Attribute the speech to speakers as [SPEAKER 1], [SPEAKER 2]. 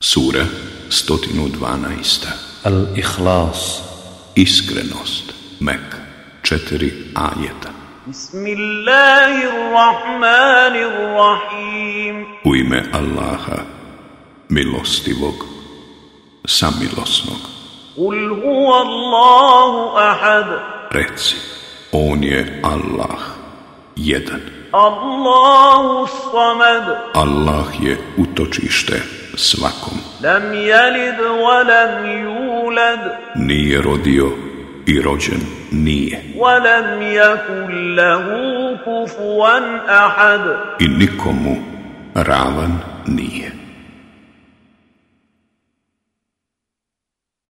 [SPEAKER 1] Sura 112.
[SPEAKER 2] الإخلاص
[SPEAKER 1] Iskrenost. Mek. Četiri ajeta.
[SPEAKER 3] بسم الله الرحمن الرحيم
[SPEAKER 1] U ime Allaha, milostivog, samilosnog.
[SPEAKER 3] قل هو الله احد
[SPEAKER 1] Reci, on je Allah, jedan.
[SPEAKER 3] الله الصمد
[SPEAKER 1] Allah je utočište svakom.
[SPEAKER 3] لم يلد ولم يولد
[SPEAKER 1] Nije rodio i rođen nije.
[SPEAKER 3] ولم يكن له كفوا احد
[SPEAKER 1] I nikomu ravan nije.